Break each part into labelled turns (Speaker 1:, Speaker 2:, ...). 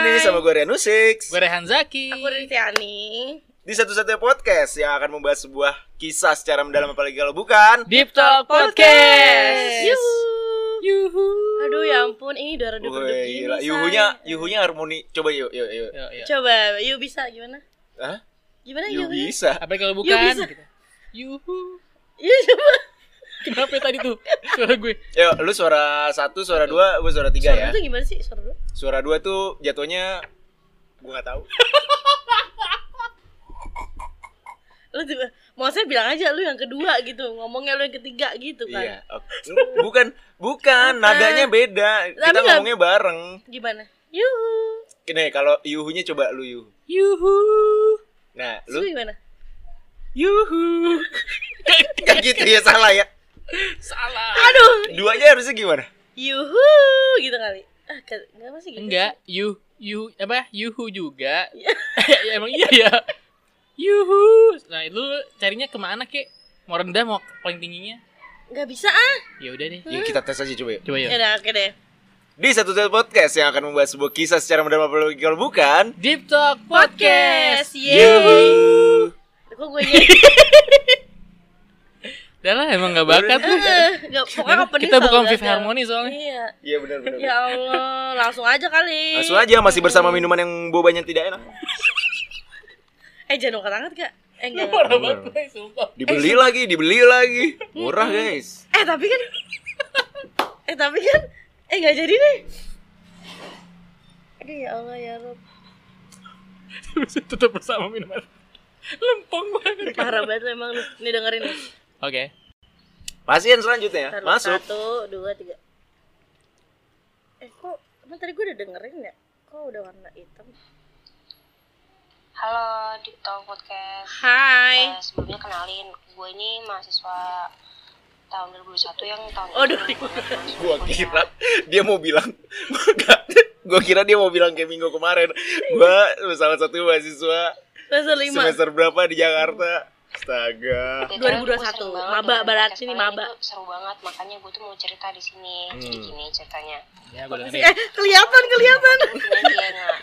Speaker 1: Rianu Six
Speaker 2: Gue Rehan Zaki.
Speaker 3: Aku Ritiani.
Speaker 1: Di satu-satunya podcast yang akan membahas sebuah kisah secara mendalam apalagi kalau bukan
Speaker 2: Deep Talk Podcast.
Speaker 3: Yuhu.
Speaker 2: Yuhu.
Speaker 3: Aduh ya ampun, ini udah redup-redup
Speaker 1: Wih,
Speaker 3: gini.
Speaker 1: gila.
Speaker 3: Say.
Speaker 1: Yuhunya, yuhunya harmoni Coba yuk, yuk, yuk
Speaker 2: Yo, yo.
Speaker 3: Coba, Yu bisa gimana?
Speaker 1: Hah?
Speaker 3: Gimana
Speaker 1: Yuh
Speaker 3: Yu?
Speaker 1: bisa
Speaker 2: Apa kalau
Speaker 3: Yo,
Speaker 2: bukan?
Speaker 3: bisa.
Speaker 2: Gitu. Yuhu.
Speaker 3: Yu Iya, coba.
Speaker 2: Kenapa ya tadi tuh suara gue?
Speaker 1: Yuk, lu suara satu, suara dua, gue suara tiga
Speaker 3: Suara
Speaker 1: ya
Speaker 3: itu gimana sih? Suara dulu.
Speaker 1: Suara dua tuh jatuhnya Gue gak tau
Speaker 3: Lu tiba, maksudnya bilang aja lu yang kedua gitu, ngomongnya lu yang ketiga gitu kan.
Speaker 1: Iya oke. Bukan, bukan, nadanya beda Kita
Speaker 3: nggak-
Speaker 1: ngomongnya bareng
Speaker 3: Gimana? Yuhu.
Speaker 1: Nih, kalau yuhunya coba lu yuh
Speaker 2: Yuhu.
Speaker 1: Nah,
Speaker 3: Lu
Speaker 1: lu
Speaker 3: gimana?
Speaker 2: Yuhu.
Speaker 1: Gak gitu ya, salah ya
Speaker 2: Salah.
Speaker 3: Aduh.
Speaker 1: Duanya harusnya gimana?
Speaker 3: Yuhu gitu kali. Ah, ke- enggak masih gitu.
Speaker 2: Enggak, yuh yuh apa? Yuhu juga. ya, emang iya ya. Yuhu. Nah, lu carinya kemana kek? Mau rendah mau paling tingginya?
Speaker 3: Enggak bisa ah.
Speaker 2: Ya udah deh.
Speaker 1: Ya, kita tes aja coba yuk
Speaker 2: Coba
Speaker 3: Ya
Speaker 2: yuk.
Speaker 3: udah oke deh.
Speaker 1: di satu satu podcast yang akan membahas sebuah kisah secara mendalam apalagi kalau bukan
Speaker 2: Deep Talk
Speaker 3: Podcast.
Speaker 2: Podcast.
Speaker 3: Yeay. Kok gue nya
Speaker 2: Udah lah, emang gak bakat lu.
Speaker 3: Eh, enggak pokoknya opening
Speaker 2: Kita bukan
Speaker 3: selalu
Speaker 2: Fifth
Speaker 3: gagal.
Speaker 2: Harmony soalnya.
Speaker 3: Iya.
Speaker 1: Iya benar benar.
Speaker 3: Ya Allah, langsung aja kali.
Speaker 1: Langsung aja masih bersama minuman yang bobanya tidak enak.
Speaker 3: Eh jangan angkat angkat gak? Eh, enggak.
Speaker 2: Parah banget, Bray, sumpah.
Speaker 1: Dibeli
Speaker 3: iya.
Speaker 1: lagi, dibeli lagi. Murah guys.
Speaker 3: eh tapi kan, eh tapi kan, eh nggak jadi deh. Aduh ya Allah ya Rob,
Speaker 2: Bisa tetap bersama minuman. Lempeng banget.
Speaker 3: parah banget lu emang lu. Nih dengerin nih.
Speaker 2: Oke.
Speaker 1: Pasien selanjutnya
Speaker 3: Ntar lu,
Speaker 1: masuk.
Speaker 3: Satu, dua, tiga. Eh kok, emang tadi gue udah dengerin ya? Kok udah warna hitam?
Speaker 4: Halo, di Talk Podcast. Eh,
Speaker 3: Hai.
Speaker 4: sebelumnya kenalin, gue ini mahasiswa tahun 2021 yang tahun
Speaker 3: Oh,
Speaker 4: ini
Speaker 1: Gua
Speaker 3: 2021.
Speaker 1: kira dia mau bilang Enggak. Gua kira dia mau bilang kayak minggu kemarin. Gua salah satu mahasiswa
Speaker 3: Semester lima.
Speaker 1: semester berapa di Jakarta. Astaga.
Speaker 3: 2021,
Speaker 4: Btw, gua sering
Speaker 3: maba,
Speaker 4: banget dengerin
Speaker 3: barat
Speaker 4: podcast
Speaker 3: sini,
Speaker 4: kalian,
Speaker 3: maba.
Speaker 4: itu Seru banget, makanya gue tuh mau cerita di sini. Jadi
Speaker 1: Hmm.
Speaker 4: gini ceritanya.
Speaker 2: Ya, gue dengerin.
Speaker 3: Eh kelihatan kelihatan.
Speaker 4: Ini dia nggak.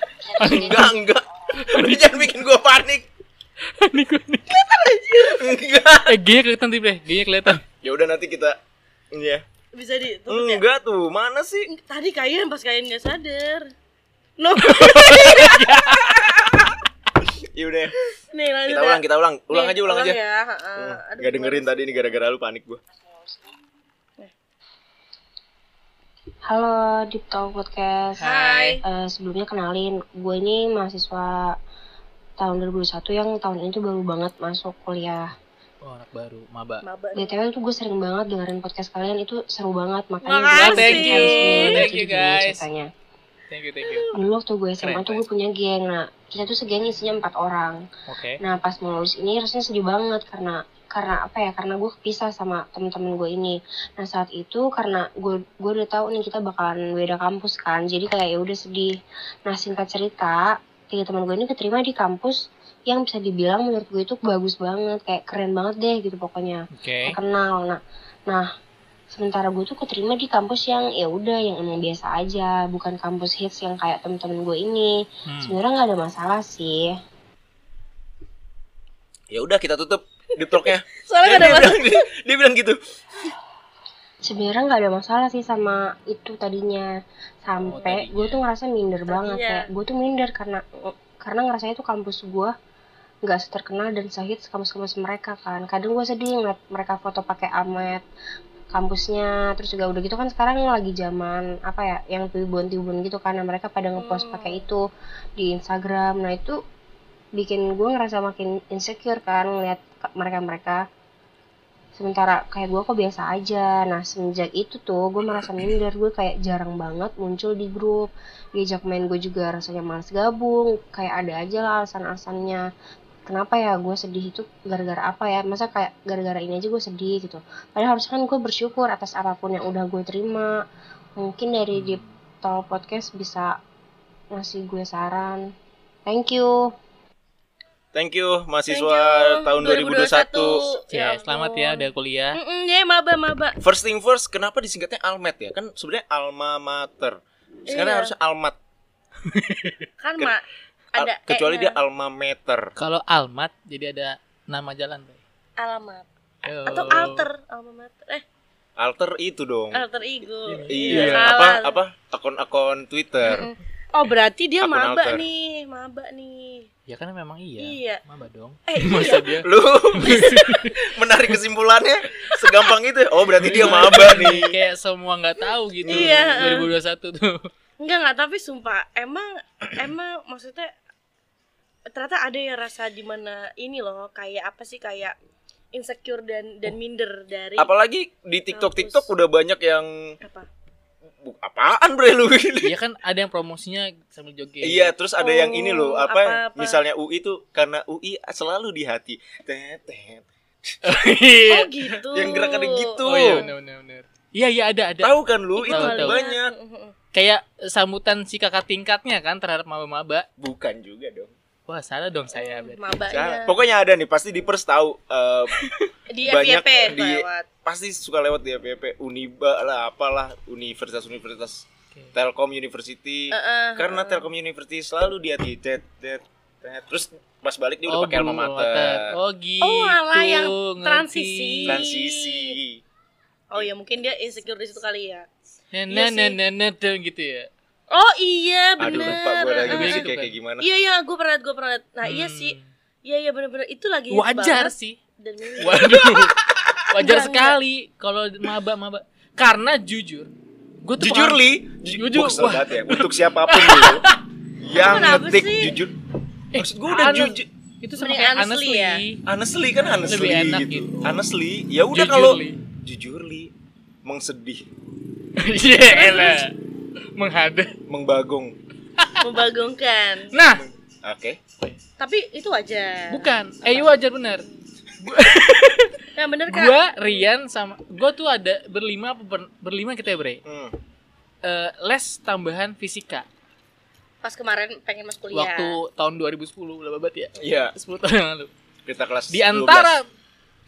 Speaker 1: Enggak, enggak. Udah jangan bikin gua panik.
Speaker 2: Eh, Ini gue nih.
Speaker 1: Enggak.
Speaker 2: Eh, G-nya kelihatan, Tip, deh. G-nya kelihatan.
Speaker 1: Ya udah nanti kita Iya.
Speaker 3: Bisa ditutup ya?
Speaker 1: Enggak tuh, mana sih?
Speaker 3: Tadi kalian pas kalian nggak sadar. No.
Speaker 1: Ya udah.
Speaker 3: Nih lanjut.
Speaker 1: Kita
Speaker 3: ya.
Speaker 1: ulang, kita ulang. Ulang
Speaker 3: Nih,
Speaker 1: aja, ulang aja. Iya. Hmm,
Speaker 3: Ya. heeh. Aduh,
Speaker 1: Gak dengerin tadi nih gara-gara lu panik gua.
Speaker 4: Halo, di Talk Podcast.
Speaker 3: Hai.
Speaker 4: Eh, sebelumnya kenalin, gue ini mahasiswa tahun 2021 yang tahun ini tuh baru banget masuk kuliah.
Speaker 2: Oh, anak baru, maba.
Speaker 3: Maba. nih.
Speaker 4: BTW tuh gue sering banget dengerin podcast kalian itu seru banget makanya
Speaker 3: Makasih.
Speaker 4: gua
Speaker 3: Thank
Speaker 4: cerita
Speaker 3: you.
Speaker 4: di sini. Jadi
Speaker 2: Thank you,
Speaker 4: gini
Speaker 2: guys.
Speaker 4: ceritanya.
Speaker 2: Thank you, thank you.
Speaker 4: Dulu waktu gue SMA
Speaker 2: Keren,
Speaker 4: tuh gue punya geng. Nah, kita tuh segeng isinya empat orang.
Speaker 2: Oke.
Speaker 4: Nah, pas mau lulus ini rasanya sedih banget karena karena apa ya? Karena gue kepisah sama temen-temen gue ini. Nah, saat itu karena gue gue udah tahu nih kita bakalan beda kampus kan. Jadi kayak ya udah sedih. Nah, singkat cerita, tiga teman gue ini keterima di kampus yang bisa dibilang menurut gue itu bagus banget, kayak keren banget deh gitu pokoknya
Speaker 2: Oke.
Speaker 4: terkenal nah nah sementara gue tuh keterima di kampus yang ya udah yang emang biasa aja bukan kampus hits yang kayak temen-temen gue ini
Speaker 2: Hmm.
Speaker 4: sebenarnya nggak ada masalah sih
Speaker 1: Ya udah kita tutup deep talknya. dia,
Speaker 3: Soalnya nggak ada
Speaker 1: bilang, dia, dia bilang gitu.
Speaker 4: sebenarnya nggak ada masalah sih sama itu tadinya sampai
Speaker 2: Oh, tadinya.
Speaker 4: gue tuh ngerasa minder banget
Speaker 3: Tadinya.
Speaker 4: kayak gue tuh minder karena karena ngerasa itu kampus gue nggak seterkenal dan sehits kampus-kampus mereka kan kadang gue sedih ngeliat mereka foto pakai amet kampusnya terus juga udah gitu kan sekarang lagi zaman apa ya yang tribun-tribun gitu kan nah, mereka pada ngepost
Speaker 3: Hmm.
Speaker 4: pakai itu di Instagram nah itu bikin gue ngerasa makin insecure kan ngeliat ke- mereka-mereka sementara kayak gue kok biasa aja nah semenjak itu tuh gue merasa minder gue kayak jarang banget muncul di grup diajak main gue juga rasanya males gabung kayak ada aja lah alasan-alasannya kenapa ya gue sedih itu gara-gara apa ya masa kayak gara-gara ini aja gue sedih gitu padahal harusnya kan gue bersyukur atas apapun yang udah gue terima mungkin dari di tol podcast bisa ngasih gue saran thank you
Speaker 1: Thank you mahasiswa
Speaker 3: Thank you.
Speaker 1: tahun 2021.
Speaker 2: Ya, selamat ya
Speaker 3: ampun.
Speaker 2: udah kuliah.
Speaker 3: Mm-mm, ya maba maba.
Speaker 1: First thing first, kenapa disingkatnya Almet ya? Kan sebenarnya alma mater. Sekarang
Speaker 3: Iya.
Speaker 1: harusnya Almat.
Speaker 3: kan mak ada eh,
Speaker 1: Al- kecuali
Speaker 3: E-nya.
Speaker 1: dia alma mater.
Speaker 2: Kalau almat jadi ada nama jalan, Bay.
Speaker 3: alamat
Speaker 2: Yo.
Speaker 3: atau alter alma mater eh
Speaker 1: Alter itu dong.
Speaker 3: alter ego
Speaker 1: Iya,
Speaker 3: Salah.
Speaker 1: apa apa akun-akun Twitter.
Speaker 3: Mm-mm. oh berarti dia
Speaker 1: Akun
Speaker 3: maba
Speaker 1: alter.
Speaker 3: nih maba nih
Speaker 2: Ya kan memang iya.
Speaker 3: iya
Speaker 2: Mama dong.
Speaker 3: eh iya
Speaker 2: Masa dia
Speaker 1: Lu menarik kesimpulannya segampang itu. ya? Oh,
Speaker 2: Iya.
Speaker 1: berarti dia maba nih.
Speaker 2: Kayak semua nggak tahu gitu.
Speaker 3: Iya.
Speaker 2: 2021 tuh.
Speaker 3: enggak enggak tapi sumpah emang emang maksudnya ternyata ada ya rasa dimana ini loh kayak apa sih kayak insecure dan
Speaker 1: Oh.
Speaker 3: dan minder dari
Speaker 1: Apalagi di TikTok TikTok
Speaker 3: Kampus.
Speaker 1: udah banyak yang
Speaker 3: apa
Speaker 1: "Bu, apaan bre lu ini.
Speaker 2: Iya kan ada yang promosinya sambil joget.
Speaker 1: Iya, terus ada yang
Speaker 3: Oh,
Speaker 1: ini loh, apa,
Speaker 3: apa-apa.
Speaker 1: misalnya UI itu karena UI selalu di hati. Tet, tet.
Speaker 3: oh
Speaker 2: Iya.
Speaker 3: gitu
Speaker 1: Yang gerakannya gitu.
Speaker 2: Oh iya benar benar benar. Iya iya ada ada.
Speaker 1: Tahu kan lu itu
Speaker 2: Tahu,
Speaker 3: ya.
Speaker 2: tahu.
Speaker 1: banyak.
Speaker 2: Kayak sambutan si kakak tingkatnya kan terhadap maba-maba.
Speaker 1: Bukan juga dong.
Speaker 2: Wah, salah
Speaker 1: Ya,
Speaker 2: dong saya berarti.
Speaker 1: Salah.
Speaker 3: mabanya
Speaker 1: Pokoknya ada nih, pasti di pers tahu eh,
Speaker 3: di
Speaker 1: banyak
Speaker 3: FYP
Speaker 1: di-
Speaker 3: lewat
Speaker 1: pasti suka lewat di FPP Uniba lah apalah universitas-universitas
Speaker 2: Oke.
Speaker 1: Telkom University
Speaker 3: Heeh.
Speaker 1: karena Telkom University selalu dia di tet tet tet. terus pas balik dia udah pakai
Speaker 2: belum
Speaker 1: alma mater,
Speaker 2: Oh gitu.
Speaker 3: Oh, alah, yang
Speaker 2: ngerti.
Speaker 3: transisi.
Speaker 1: transisi
Speaker 3: oh ya mungkin dia insecure di situ kali ya Iya
Speaker 2: Nah, nah, nah,
Speaker 3: sih.
Speaker 2: nah, nah, tuh, gitu ya.
Speaker 3: oh iya
Speaker 1: aduh
Speaker 3: bener
Speaker 1: lupa gue lagi musik
Speaker 2: Iya, gitu
Speaker 1: kayak,
Speaker 2: kan.
Speaker 1: kayak gimana
Speaker 3: iya iya gue pernah gue pernah liat. nah iya
Speaker 2: Hmm.
Speaker 3: sih iya iya bener-bener itu lagi hits
Speaker 2: Wajar
Speaker 3: banget
Speaker 2: sih.
Speaker 3: dan minder.
Speaker 2: Waduh. Wajar
Speaker 3: Enggak,
Speaker 2: sekali kalau maba-maba. Karena jujur, gue tuh
Speaker 1: jujur li
Speaker 2: pengalaman- Jujur,
Speaker 1: jujur
Speaker 2: wah.
Speaker 1: ya untuk siapapun dulu yang
Speaker 3: Kenapa
Speaker 1: ngetik
Speaker 3: sih?
Speaker 1: jujur
Speaker 2: Eh,
Speaker 1: maksud gue udah
Speaker 2: honest-
Speaker 1: jujur
Speaker 2: Itu sama
Speaker 3: Mending
Speaker 2: kayak honestly.
Speaker 3: honestly ya.
Speaker 1: honestly kan honestly
Speaker 2: Lebih enak
Speaker 1: gitu.
Speaker 2: gitu.
Speaker 1: honestly ya udah
Speaker 2: Jujur,
Speaker 1: kalau
Speaker 2: Li.
Speaker 1: jujur li mengsedih
Speaker 2: Iya elah. Menghadap.
Speaker 1: mengbagong
Speaker 3: membagongkan
Speaker 2: Nah,
Speaker 1: oke
Speaker 3: tapi itu wajar
Speaker 2: bukan. Eh, iya wajar bener.
Speaker 3: nah bener kan
Speaker 2: Gua, Rian sama gua tuh ada berlima apa ber- berlima kita ya, Bre.
Speaker 1: Hmm.
Speaker 2: Eh, les tambahan fisika
Speaker 3: pas kemarin pengen mas kuliah
Speaker 2: waktu tahun 2010 lah babat ya.
Speaker 1: Iya,
Speaker 2: 10 tahun yang lalu.
Speaker 1: kita kelas
Speaker 2: Di antara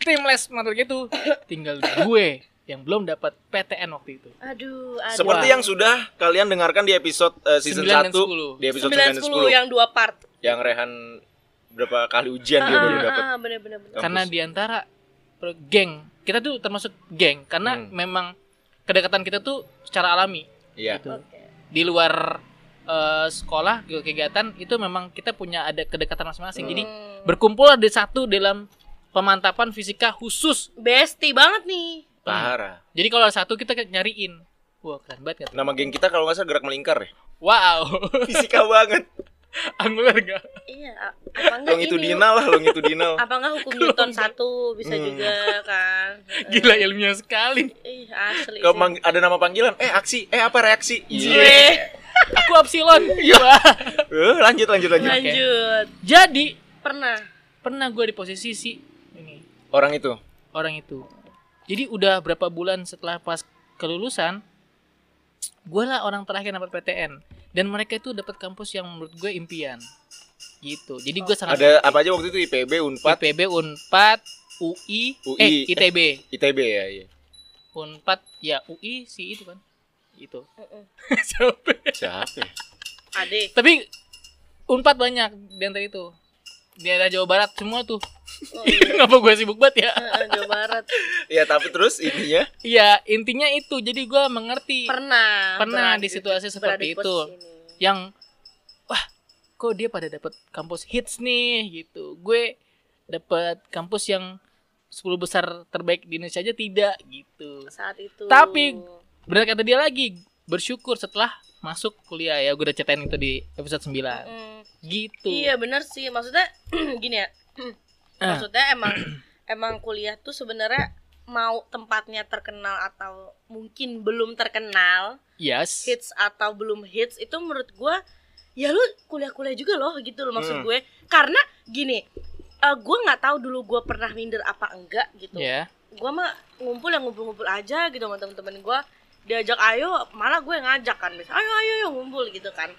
Speaker 2: tim les materi itu tinggal gue yang belum dapat PTN waktu itu.
Speaker 1: 12.
Speaker 3: aduh aduh
Speaker 1: Seperti
Speaker 2: Wah.
Speaker 1: yang sudah kalian dengarkan di episode eh, season
Speaker 2: 9
Speaker 1: 1
Speaker 2: dan 10.
Speaker 1: Di episode 9
Speaker 3: sembilan
Speaker 1: dan 10
Speaker 3: sepuluh
Speaker 1: yang...
Speaker 3: yang dua part
Speaker 2: ya.
Speaker 1: Rehan berapa kali ujian dia Iya, baru dapat
Speaker 3: ah, bener bener bener
Speaker 1: Kampus.
Speaker 2: Karena di antara per- geng, kita tuh termasuk geng karena
Speaker 1: Hmm.
Speaker 2: memang kedekatan kita tuh secara alami
Speaker 1: Iya
Speaker 2: gitu.
Speaker 3: oke
Speaker 2: Di luar eh, sekolah ke- kegiatan itu memang kita punya ada kedekatan masing-masing. Jadi
Speaker 3: Hmm.
Speaker 2: berkumpul ada satu dalam pemantapan fisika khusus.
Speaker 3: bestie banget nih
Speaker 1: Parah
Speaker 2: Jadi kalau ada satu kita kayak nyariin. Wah, keren banget kata.
Speaker 1: Nama geng kita kalau nggak salah gerak melingkar ya
Speaker 2: Wow,
Speaker 1: Fisika banget
Speaker 2: angular gak?
Speaker 3: iya a- apa enggak
Speaker 1: Long itu
Speaker 3: ini
Speaker 1: dinal lah, long itu dinal
Speaker 3: apa enggak hukum Newton satu bisa
Speaker 1: Hmm.
Speaker 3: juga kan
Speaker 2: Gila ya. ilmiah sekali.
Speaker 3: ih asli
Speaker 1: Kalau
Speaker 3: sih.
Speaker 1: mang- ada nama panggilan, eh aksi, eh apa reaksi Iya.
Speaker 2: Cie. Aku Epsilon. Wah.
Speaker 1: Eh, Lanjut, lanjut, lanjut
Speaker 3: lanjut
Speaker 2: Jadi
Speaker 3: pernah
Speaker 2: pernah gue di posisi si ini
Speaker 1: Orang itu
Speaker 2: orang itu. Jadi udah berapa bulan setelah pas kelulusan, gue lah orang terakhir yang dapat PTN dan mereka itu dapat kampus yang menurut gue impian. Gitu. Jadi gue sangat
Speaker 1: Ada apa aja waktu itu IPB, UNPAD,
Speaker 2: IPB Unpad, UI,
Speaker 1: UI.
Speaker 2: eh ITB.
Speaker 1: ITB ya iya.
Speaker 2: Unpad ya UI si itu kan. Itu.
Speaker 3: Mm-mm.
Speaker 2: Sampai-
Speaker 1: Siapa ya?
Speaker 3: ade
Speaker 2: Tapi Unpad banyak di antara itu. Di daerah Jawa Barat semua tuh.
Speaker 3: oh, iya.
Speaker 2: Kenapa gue sibuk banget ya?
Speaker 3: Heeh, Jawa Barat
Speaker 1: Ya tapi terus intinya
Speaker 2: Iya, intinya itu. Jadi gue mengerti
Speaker 3: pernah
Speaker 2: pernah
Speaker 3: berada
Speaker 2: di situasi
Speaker 3: berada
Speaker 2: seperti
Speaker 3: di
Speaker 2: itu
Speaker 3: posisi ini.
Speaker 2: yang wah, kok dia pada dapat kampus hits nih gitu. Gue dapat kampus yang 10 besar terbaik di Indonesia aja tidak gitu.
Speaker 3: saat itu
Speaker 2: Tapi- Benar kata dia lagi, bersyukur setelah masuk kuliah ya. Gue udah ceritain itu di episode 9.
Speaker 3: Mm,
Speaker 2: Gitu.
Speaker 3: iya benar sih maksudnya gini ya
Speaker 2: Ah.
Speaker 3: maksudnya emang emang kuliah tuh sebenarnya mau tempatnya terkenal atau mungkin belum terkenal
Speaker 2: Yes.
Speaker 3: hits atau belum hits itu menurut gua ya lu kuliah-kuliah juga loh gitu loh
Speaker 1: Hmm.
Speaker 3: maksud gue karena gini eh, gua nggak tahu dulu gua pernah minder apa enggak gitu
Speaker 2: Ya.
Speaker 3: gua mah ngumpul yang ngumpul-ngumpul aja gitu sama temen-temen gua diajak ayo malah gue ngajak kan misalnya ayo ayo ayo ngumpul gitu kan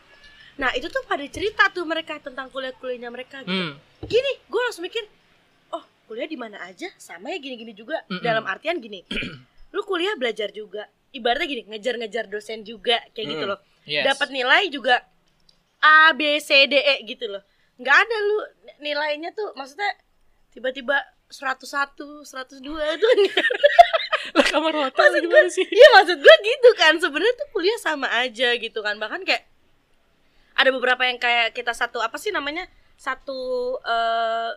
Speaker 3: nah itu tuh pada cerita tuh mereka tentang kuliah-kuliahnya mereka gitu
Speaker 2: Hmm.
Speaker 3: gini gue langsung mikir oh kuliah di mana aja sama ya gini-gini juga
Speaker 2: Mm-mm.
Speaker 3: dalam artian gini lu kuliah belajar juga ibaratnya gini ngejar-ngejar dosen juga kayak gitu
Speaker 1: Mm.
Speaker 3: loh
Speaker 2: Hmm, Yes.
Speaker 3: dapat nilai juga A B C D E gitu loh nggak ada lu nilainya tuh maksudnya tiba-tiba 101 102 itu nggak-
Speaker 2: Lah kamar hotel
Speaker 3: Maksud
Speaker 2: gimana sih?
Speaker 3: Iya maksud gue gitu kan sebenarnya tuh kuliah sama aja gitu kan bahkan kayak ada beberapa yang kayak kita satu apa sih namanya satu eh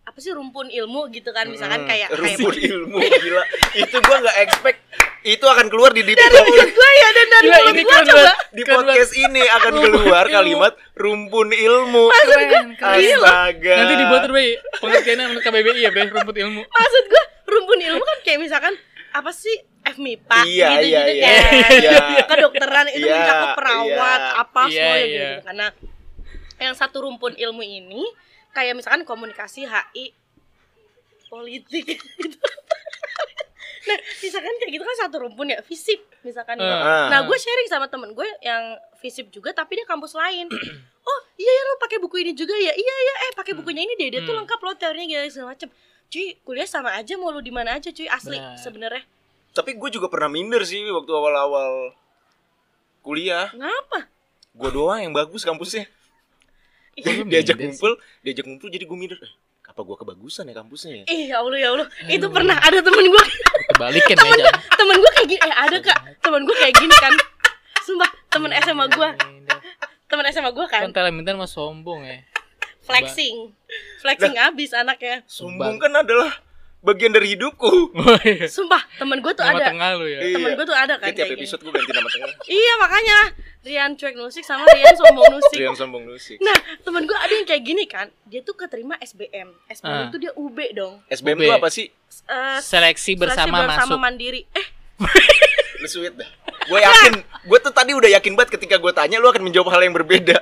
Speaker 3: apa sih rumpun ilmu gitu kan misalkan
Speaker 1: Mm-mm.
Speaker 3: kayak kayak
Speaker 1: rumpun Hmm, ilmu gila. itu gua nggak expect itu akan keluar di deep
Speaker 3: mulut gue ya dan dari
Speaker 2: Gila,
Speaker 3: mulut
Speaker 2: ini
Speaker 3: gue
Speaker 2: keren
Speaker 3: coba
Speaker 2: banget.
Speaker 1: di
Speaker 2: Keren
Speaker 1: podcast ini akan
Speaker 2: Rumpun
Speaker 1: keluar
Speaker 2: ilmu.
Speaker 1: kalimat rumpun ilmu.
Speaker 2: Keren, keren.
Speaker 1: Astaga.
Speaker 2: Nanti dibuat tuh, Bre. Pengertiannya menurut KBBI ya, Bre, rumput ilmu.
Speaker 3: maksud gue rumpun ilmu kan kayak misalkan apa sih FMIPA
Speaker 1: Iya,
Speaker 3: gitu
Speaker 1: iya,
Speaker 3: gitu
Speaker 1: iya.
Speaker 3: kan
Speaker 1: Iya.
Speaker 3: kedokteran itu
Speaker 1: Iya,
Speaker 3: mencakup perawat
Speaker 1: iya.
Speaker 3: apa
Speaker 2: Iya,
Speaker 3: semuanya
Speaker 2: iya.
Speaker 3: gitu karena yang satu rumpun ilmu ini kayak misalkan komunikasi HI politik gitu. nah misalkan kayak gitu kan satu rumpun ya visip misalkan
Speaker 1: Ah.
Speaker 3: gitu.
Speaker 2: Heeh.
Speaker 3: nah gue sharing sama temen gue yang visip juga tapi dia kampus lain oh iya ya lo pakai buku ini juga ya iya ya eh pakai bukunya ini deh dia tuh
Speaker 2: Hmm.
Speaker 3: lengkap lo teorinya gini segala macem cuy kuliah sama aja mau lu di mana aja cuy asli
Speaker 2: Benar.
Speaker 3: sebenarnya
Speaker 1: Tapi gue juga pernah minder sih waktu awal-awal kuliah.
Speaker 3: ngapa
Speaker 1: Gue doang yang bagus kampusnya.
Speaker 2: Gua
Speaker 1: diajak
Speaker 2: minder
Speaker 1: ngumpul, diajak ngumpul jadi gue minder. Eh, apa gue kebagusan ya kampusnya ya?
Speaker 3: ih ya allah ya allah itu
Speaker 2: Aduh.
Speaker 3: pernah ada temen gue
Speaker 2: sih. Kebalikin ya, jangan.
Speaker 3: temen gue kayak gini eh ada kak temen gue kayak gini kan sumpah temen
Speaker 2: Iya,
Speaker 3: SMA gue temen SMA gue kan
Speaker 2: Kan telemintan mah sombong ya.
Speaker 3: flexing flexing abis anaknya
Speaker 1: Sombong kan adalah bagian dari hidupku.
Speaker 2: Woi.
Speaker 3: sumpah temen gue tuh
Speaker 2: Nama
Speaker 3: ada
Speaker 2: tengah lu ya.
Speaker 1: Iya.
Speaker 3: temen gue tuh ada
Speaker 1: Jadi
Speaker 3: kan
Speaker 1: tiap
Speaker 3: kayak gini.
Speaker 1: episode gue ganti nama tengah.
Speaker 3: iya makanya Rian cuek nusik sama Rian sombong nusik
Speaker 1: Rian sombong Lucy.
Speaker 3: Nah, temen gue ada yang kayak gini kan, dia tuh keterima SBM. SBM
Speaker 2: Ah.
Speaker 3: itu dia UB dong.
Speaker 1: SBM
Speaker 2: Ube.
Speaker 1: itu apa sih?
Speaker 3: S- eh,
Speaker 2: Seleksi bersama
Speaker 3: seleksi bersama
Speaker 2: masuk.
Speaker 3: mandiri. Eh,
Speaker 1: Lu sweet dah. Gue yakin, gue tuh tadi udah yakin banget ketika gue tanya lu akan menjawab hal yang berbeda.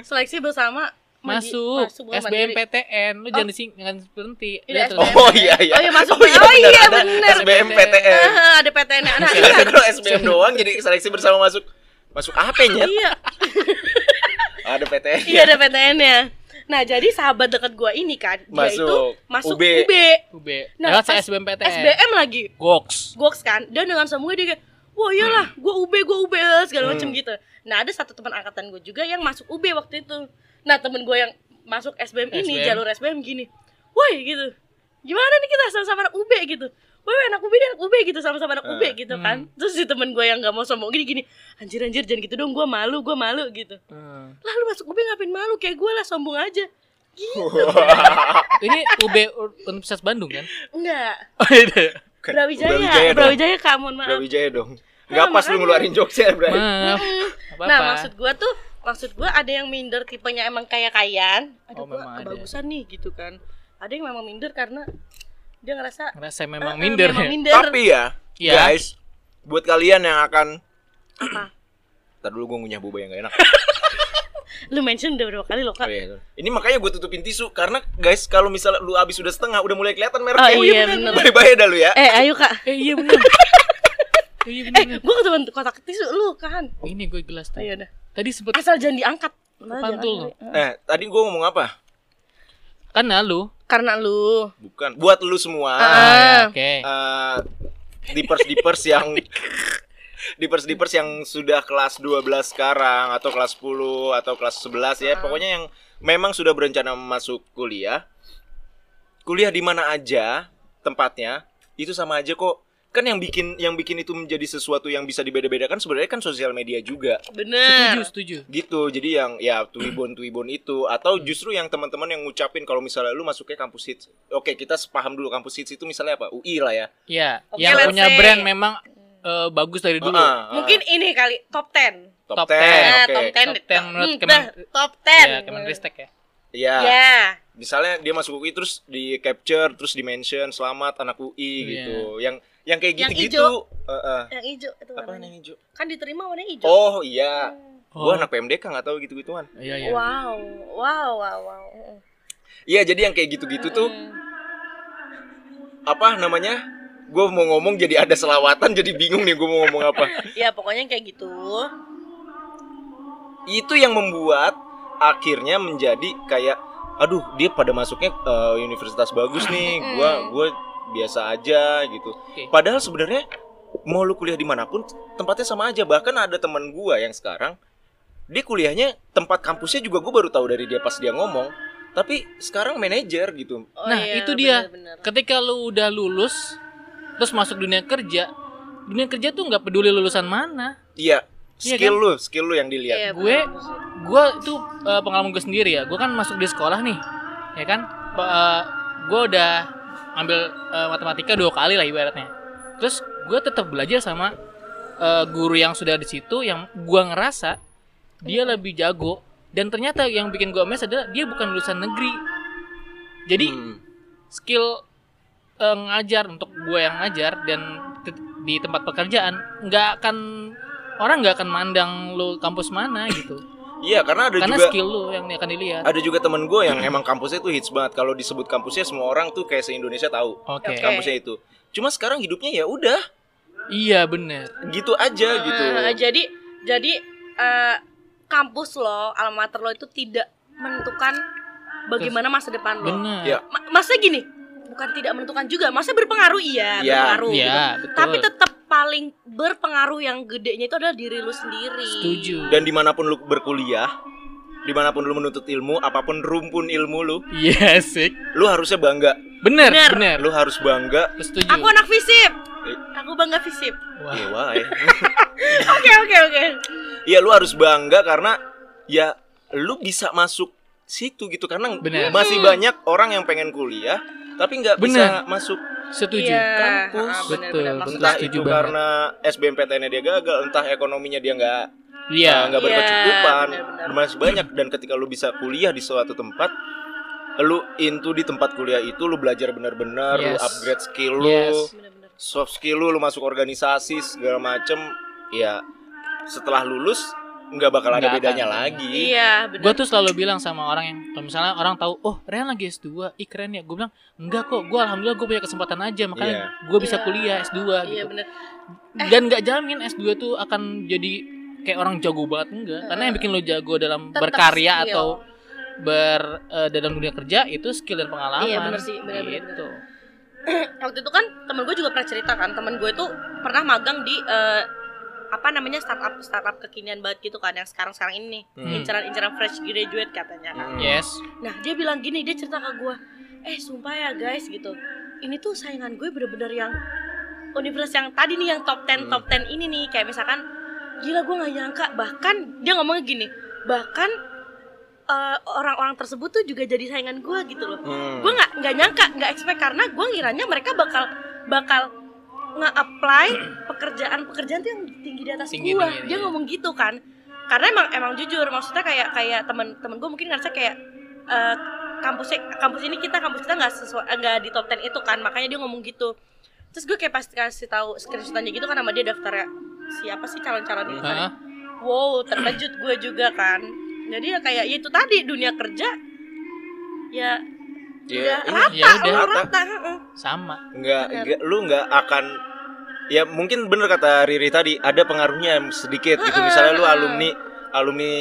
Speaker 3: seleksi bersama mandi-
Speaker 2: Masuk.
Speaker 3: bukan mandiri. Oh.
Speaker 2: SBMPTN lu jangan dising jangan berhenti.
Speaker 3: Iya,
Speaker 2: Lihat
Speaker 3: SBM.
Speaker 2: tuh.
Speaker 1: Oh iya iya.
Speaker 3: Oh iya, masuk.
Speaker 1: iya,
Speaker 3: Oh iya,
Speaker 1: ada
Speaker 3: bener.
Speaker 1: SBM PTN.
Speaker 3: Ah, ada PTN -nya. Nah, iya,
Speaker 1: Karena kalau SBM doang jadi seleksi bersama masuk masuk apa ya?
Speaker 3: iya,
Speaker 1: Ada PTN.
Speaker 3: iya ada PTN-nya. Nah, jadi sahabat dekat gue ini kan, dia
Speaker 1: Masuk.
Speaker 3: itu masuk UB.
Speaker 1: UB.
Speaker 2: UB.
Speaker 3: Nah,
Speaker 2: Lewat
Speaker 3: pas
Speaker 2: SBMPTN.
Speaker 3: SBM lagi.
Speaker 2: Goks.
Speaker 3: Goks kan dan dengan semuanya dia kayak wah iyalah gue UB gue UB segala macem gitu nah ada satu teman angkatan gue juga yang masuk UB waktu itu nah temen gue yang masuk SBM ini
Speaker 2: SBM.
Speaker 3: jalur SBM gini woi gitu gimana nih kita sama-sama anak UB gitu woi anak UB dia anak UB gitu sama-sama anak UB gitu kan terus si temen gue yang gak mau sombong gini gini anjir anjir jangan gitu dong gue malu gue malu gitu
Speaker 2: Hmm.
Speaker 3: lah lu masuk UB ngapain malu kayak gue lah sombong aja
Speaker 2: Ini UB Ur- Universitas Bandung kan?
Speaker 3: enggak
Speaker 2: Oh iya.
Speaker 3: Brawijaya
Speaker 1: Brawijaya
Speaker 3: Brawijaya,
Speaker 1: dong.
Speaker 3: Kak, mohon maaf
Speaker 1: Brawijaya dong. Nggak
Speaker 3: Nah,
Speaker 1: pas lu
Speaker 3: makanya.
Speaker 1: ngeluarin jokesnya, Bray.
Speaker 2: Maaf. Apa
Speaker 3: Nah,
Speaker 2: -apa.
Speaker 3: maksud gua tuh, maksud gua ada yang minder tipenya emang kayak kayaan. Aduh,
Speaker 2: Oh,
Speaker 3: gua
Speaker 2: memang ada.
Speaker 3: kebagusan nih gitu kan. Ada yang memang minder karena dia ngerasa
Speaker 2: ngerasa memang
Speaker 3: "Eh, eh,
Speaker 2: minder
Speaker 3: memang
Speaker 2: ya.
Speaker 3: minder.
Speaker 1: Tapi ya,
Speaker 2: Iya.
Speaker 1: guys, buat kalian yang akan
Speaker 3: Apa?
Speaker 1: Ntar dulu gue ngunyah boba yang gak enak
Speaker 3: Lu mention udah berapa kali
Speaker 1: Oh,
Speaker 3: loh, Kak?
Speaker 1: iya. Ini makanya gue tutupin tisu Karena guys kalau misalnya lu abis udah setengah Udah mulai kelihatan mereknya
Speaker 3: Oh, iya, bener.
Speaker 1: Bye-bye dah lu ya
Speaker 3: Eh, ayo Kak.
Speaker 2: Eh iya bener. Eh, iya
Speaker 3: Eh,
Speaker 2: bener.
Speaker 3: gua ketemuan kotak tisu lu kan.
Speaker 2: Ini gue gelas tadi.
Speaker 3: Ayo dah.
Speaker 2: Tadi sempet
Speaker 3: Asal jangan diangkat. Nah, jangan.
Speaker 2: pantul lu.
Speaker 1: Eh tadi gue ngomong apa?
Speaker 2: Karena lu.
Speaker 3: Karena lu.
Speaker 1: Bukan Buat lu semua
Speaker 2: kan Ah, ya,
Speaker 3: Ah.
Speaker 2: oke.
Speaker 1: eh dipers dipers yang dipers dipers yang sudah kelas 12 sekarang atau kelas 10 atau kelas 11 ya pokoknya yang memang sudah berencana masuk kuliah kuliah di mana aja tempatnya itu sama aja kok kan yang bikin yang bikin itu menjadi sesuatu yang bisa dibeda-bedakan sebenarnya kan sosial media juga
Speaker 2: Setuju,
Speaker 3: Bener.
Speaker 2: setuju.
Speaker 1: gitu jadi yang ya tuibon tuibon itu atau justru yang teman-teman yang ngucapin kalau misalnya lu masuknya kampus hits oke kita sepaham dulu kampus hits itu misalnya apa UI lah ya
Speaker 2: Ya,
Speaker 3: Oke,
Speaker 2: yang
Speaker 3: let's
Speaker 2: punya
Speaker 3: say.
Speaker 2: brand memang eh, bagus dari dulu.
Speaker 1: Ah, ah.
Speaker 3: Mungkin ini kali top 10.
Speaker 1: top,
Speaker 2: top
Speaker 1: 10,
Speaker 2: 10,
Speaker 1: oke.
Speaker 3: Nah, top 10.
Speaker 2: Eh, Top 10 menurut
Speaker 3: Hmm, dah,
Speaker 2: Kemen- Ah.
Speaker 3: top 10.
Speaker 2: Ya, Kemenristek ya.
Speaker 1: Iya.
Speaker 3: Ya.
Speaker 1: Misalnya dia masuk UI terus di capture terus di mention selamat anak UI
Speaker 2: Iya.
Speaker 1: gitu. Yang yang kayak
Speaker 3: Yang
Speaker 1: gitu-gitu.
Speaker 3: hijau.
Speaker 1: Heeh.
Speaker 3: Yang hijau itu
Speaker 1: Apa
Speaker 3: warnanya.
Speaker 1: yang hijau?
Speaker 3: Kan diterima warna hijau.
Speaker 1: Oh iya.
Speaker 2: Oh,
Speaker 1: Gua anak PMDK nggak tahu gitu-gituan.
Speaker 2: Iya, iya.
Speaker 3: Wow, wow, wow, wow.
Speaker 1: Iya, jadi yang kayak gitu-gitu tuh apa namanya? Gue mau ngomong jadi ada selawatan jadi bingung nih gue mau ngomong apa.
Speaker 3: Ya pokoknya kayak gitu.
Speaker 1: Itu yang membuat akhirnya menjadi kayak aduh dia pada masuknya eh, universitas bagus nih. Gua gua biasa aja gitu.
Speaker 2: Oke.
Speaker 1: Padahal sebenarnya mau lu kuliah dimanapun tempatnya sama aja. Bahkan ada teman gua yang sekarang dia kuliahnya tempat kampusnya juga gue baru tahu dari dia pas dia ngomong tapi sekarang manajer gitu
Speaker 3: Oh
Speaker 2: Nah,
Speaker 3: iya,
Speaker 2: itu dia.
Speaker 3: bener-bener.
Speaker 2: ketika lu udah lulus terus masuk dunia kerja dunia kerja tuh nggak peduli lulusan mana
Speaker 1: iya
Speaker 2: Iya
Speaker 1: skill lu skill lu yang dilihat
Speaker 3: Iya,
Speaker 2: Gue-
Speaker 3: bener-bener sih.
Speaker 2: gue tuh eh, pengalaman gue sendiri ya gue kan masuk di sekolah nih ya kan gue udah ambil eh, matematika dua kali lah ibaratnya terus gue tetap belajar sama eh, guru yang sudah di situ yang gue ngerasa dia lebih jago dan ternyata yang bikin gue amazed adalah dia bukan lulusan negeri jadi
Speaker 1: Hmm.
Speaker 2: skill eh, ngajar untuk gue yang ngajar dan te- di tempat pekerjaan nggak akan orang nggak akan mandang lu kampus mana gitu
Speaker 1: iya karena ada juga
Speaker 2: karena skill lu yang akan dilihat
Speaker 1: ada juga temen gue yang emang kampusnya tuh hits banget kalau disebut kampusnya semua orang tuh kayak se Indonesia tahu
Speaker 2: oke
Speaker 3: Oke.
Speaker 1: kampusnya itu cuma sekarang hidupnya ya udah
Speaker 2: iya bener
Speaker 1: gitu aja
Speaker 2: Ah,
Speaker 1: gitu
Speaker 3: Eh, jadi jadi eh, kampus lo, alma mater lo itu tidak menentukan bagaimana masa depan lo.
Speaker 2: bener
Speaker 1: Ya.
Speaker 3: Ma- maksudnya gini, bukan tidak menentukan juga, maksudnya berpengaruh
Speaker 1: Iya.
Speaker 3: iya, berpengaruh.
Speaker 2: Iya, betul
Speaker 3: Tapi tetap paling berpengaruh yang gedenya itu adalah diri lu sendiri.
Speaker 2: setuju
Speaker 1: dan dimanapun lu berkuliah dimanapun lu menuntut ilmu apapun rumpun ilmu lu
Speaker 2: iya sih
Speaker 1: lu harusnya bangga
Speaker 2: bener
Speaker 3: Bener.
Speaker 2: bener
Speaker 1: lu harus bangga
Speaker 2: Lu setuju
Speaker 3: Aku anak fisip.
Speaker 2: Eh.
Speaker 3: Aku bangga fisip.
Speaker 2: Wah.
Speaker 1: ya wae.
Speaker 3: Oke, oke, oke.
Speaker 1: Iya lu harus bangga karena ya lu bisa masuk situ gitu karena
Speaker 2: Bener.
Speaker 1: masih banyak orang yang pengen kuliah tapi nggak bisa masuk
Speaker 2: setuju
Speaker 3: Iya,
Speaker 1: kampus,
Speaker 3: ah, bener,
Speaker 2: betul,
Speaker 3: bener. Maksud
Speaker 2: betul.
Speaker 1: entah
Speaker 3: aku-
Speaker 2: setuju
Speaker 1: itu
Speaker 2: banget.
Speaker 1: karena SBMPTN-nya dia gagal entah ekonominya dia nggak
Speaker 2: iya
Speaker 1: eh, nggak
Speaker 3: Iya,
Speaker 1: berkecukupan
Speaker 3: bener-bener.
Speaker 1: masih banyak dan ketika lu bisa kuliah di suatu tempat lu into di tempat kuliah itu lu belajar bener-bener lu
Speaker 2: Yes.
Speaker 1: upgrade skill lu
Speaker 2: Yes.
Speaker 3: Bener-bener.
Speaker 1: soft skill lu, lu masuk organisasi segala macem ya setelah lulus nggak bakal ada
Speaker 2: Nggak
Speaker 1: bedanya
Speaker 2: akan.
Speaker 1: lagi
Speaker 3: Iya, bener.
Speaker 2: gue tuh selalu bilang sama orang yang kalau misalnya orang tahu oh Ren lagi S2 ih keren ya gue bilang enggak kok gue alhamdulillah gue punya kesempatan aja makanya
Speaker 1: Iya.
Speaker 2: gue bisa
Speaker 3: Iya.
Speaker 2: kuliah S2
Speaker 3: Iya,
Speaker 2: gitu
Speaker 3: bener. Eh.
Speaker 2: dan nggak jamin S2 tuh akan jadi kayak orang jago banget enggak karena yang bikin lo jago dalam
Speaker 3: Tetap
Speaker 2: berkarya
Speaker 3: Eh. skill.
Speaker 2: atau ber eh, dalam dunia kerja itu skill dan pengalaman
Speaker 3: Iya, bener sih, bener, bener,
Speaker 2: gitu
Speaker 3: waktu itu kan temen gue juga pernah cerita kan temen gue tuh pernah magang di eh, apa namanya startup startup kekinian banget gitu kan yang sekarang sekarang ini nih.
Speaker 1: Hmm.
Speaker 3: inceran inceran fresh graduate katanya kan
Speaker 1: Hmm.
Speaker 2: yes
Speaker 3: nah dia bilang gini dia cerita ke gue eh sumpah ya guys gitu ini tuh saingan gue bener-bener yang universitas yang tadi nih yang top 10
Speaker 1: Hmm.
Speaker 3: top 10 ini nih kayak misalkan gila gue nggak nyangka bahkan dia ngomongnya gini bahkan eh, orang-orang tersebut tuh juga jadi saingan gue gitu loh
Speaker 1: Hmm.
Speaker 3: gue nggak nggak nyangka nggak expect karena gue ngiranya mereka bakal bakal nge-apply pekerjaan-pekerjaan tuh yang tinggi di atas
Speaker 2: Tinggi,
Speaker 3: gue
Speaker 2: tinggi,
Speaker 3: dia
Speaker 2: iya.
Speaker 3: ngomong gitu kan karena emang emang jujur maksudnya kayak kayak temen-temen gue mungkin ngerasa kayak eh, kampusnya kampus ini kita kampus kita nggak sesuai nggak di top 10 itu kan makanya dia ngomong gitu terus gue kayak pasti kasih tahu screenshotannya gitu kan sama dia daftarnya siapa sih calon-calon ini kan
Speaker 2: Hah?
Speaker 3: wow terkejut gue juga kan jadi ya kayak ya itu tadi dunia kerja ya
Speaker 1: Ya,
Speaker 3: udah
Speaker 1: ini
Speaker 3: rata
Speaker 2: ya udah.
Speaker 3: lu rata heeh.
Speaker 2: sama
Speaker 1: nggak
Speaker 3: Bener.
Speaker 1: nggak- lu nggak akan ya mungkin bener kata Riri tadi ada pengaruhnya sedikit gitu misalnya lu
Speaker 3: Heeh.
Speaker 1: alumni alumni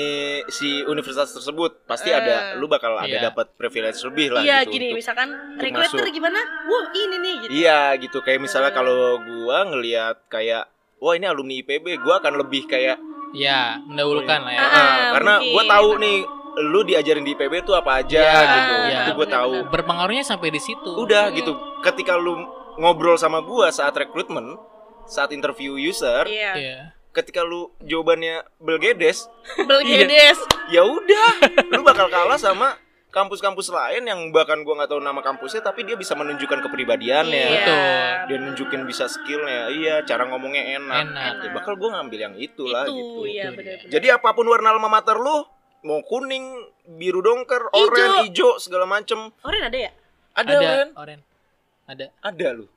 Speaker 1: si universitas tersebut pasti ada lu bakal ada
Speaker 2: Iya.
Speaker 1: dapat privilege lebih lah
Speaker 3: iya
Speaker 1: gitu
Speaker 3: gini
Speaker 1: untuk-
Speaker 3: misalkan regulator
Speaker 1: masuk.
Speaker 3: gimana wah ini nih gitu
Speaker 1: Iya gitu kayak misalnya
Speaker 3: Bener.
Speaker 1: kalau gua ngelihat kayak wah ini alumni IPB gua akan lebih kayak
Speaker 2: ya mendahulukan lah ya
Speaker 3: Ah,
Speaker 1: Ah, karena
Speaker 3: mungkin.
Speaker 1: gue tahu nih lu diajarin di IPB tuh apa aja
Speaker 2: Iya,
Speaker 1: gitu
Speaker 2: iya,
Speaker 1: itu gue tahu
Speaker 3: benar-benar.
Speaker 2: berpengaruhnya sampai di situ
Speaker 1: udah
Speaker 3: Hmm.
Speaker 1: gitu ketika lu ngobrol sama gue saat rekrutmen saat interview user
Speaker 3: iya
Speaker 2: Iya.
Speaker 1: ketika lu jawabannya belgedes Iya.
Speaker 3: belgedes
Speaker 1: ya udah lu bakal kalah sama kampus-kampus lain yang bahkan gua nggak tahu nama kampusnya tapi dia bisa menunjukkan kepribadiannya
Speaker 2: Iya. Betul.
Speaker 1: dia nunjukin bisa skillnya iya cara ngomongnya enak,
Speaker 2: enak
Speaker 1: Ya, bakal gue ngambil yang itulah
Speaker 3: itu
Speaker 1: gitu
Speaker 3: ya
Speaker 2: Itu
Speaker 3: benar-benar
Speaker 1: Jadi apapun warna alma mater lu, mau kuning, biru dongker, oranye, hijau, segala macem.
Speaker 3: Oren ada ya
Speaker 1: Ada,
Speaker 2: ada
Speaker 1: Len?
Speaker 2: oren ada
Speaker 1: Ada lu.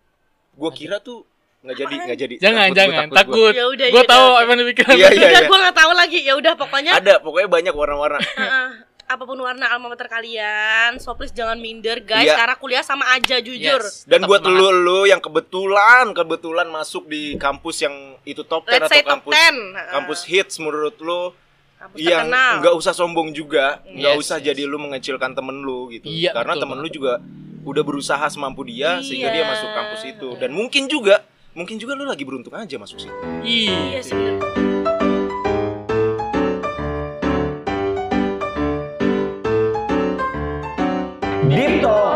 Speaker 1: Gua kira tuh nggak jadi, nggak jadi.
Speaker 2: jangan
Speaker 1: Takut, gua
Speaker 2: jangan
Speaker 1: takut gua.
Speaker 2: takut,
Speaker 3: Ya udah,
Speaker 2: gue
Speaker 3: ya
Speaker 2: tahu
Speaker 3: udah, oke.
Speaker 2: apa yang dipikirin
Speaker 1: Iya, iya,
Speaker 3: udah
Speaker 1: iya.
Speaker 3: gue nggak tahu lagi ya udah pokoknya
Speaker 1: Ada, pokoknya banyak warna-warna.
Speaker 3: heeh, apapun warna alma mater kalian so please jangan minder guys
Speaker 1: Iya.
Speaker 3: karena kuliah sama aja jujur
Speaker 2: Yes.
Speaker 1: Dan
Speaker 2: Tetap
Speaker 1: buat
Speaker 2: semangat.
Speaker 1: lu lu yang kebetulan kebetulan masuk di kampus yang itu top 10
Speaker 3: let's
Speaker 1: atau
Speaker 3: say top
Speaker 1: kampus
Speaker 3: 10 heeh.
Speaker 1: kampus
Speaker 2: Ah.
Speaker 1: iya, hits menurut lu
Speaker 3: kampus
Speaker 1: yang
Speaker 3: terkenal
Speaker 1: nggak usah sombong juga, nggak
Speaker 2: Yes,
Speaker 1: usah
Speaker 2: yes.
Speaker 1: jadi lu mengecilkan temen lu gitu.
Speaker 2: Iya,
Speaker 1: Karena
Speaker 2: betul
Speaker 1: temen lu juga udah berusaha semampu dia sehingga dia
Speaker 3: Iya.
Speaker 1: masuk kampus itu. Dan mungkin juga, mungkin juga lu lagi beruntung aja masuk situ.
Speaker 3: iya
Speaker 2: Iya.
Speaker 3: sih bener.
Speaker 5: Deep Talk.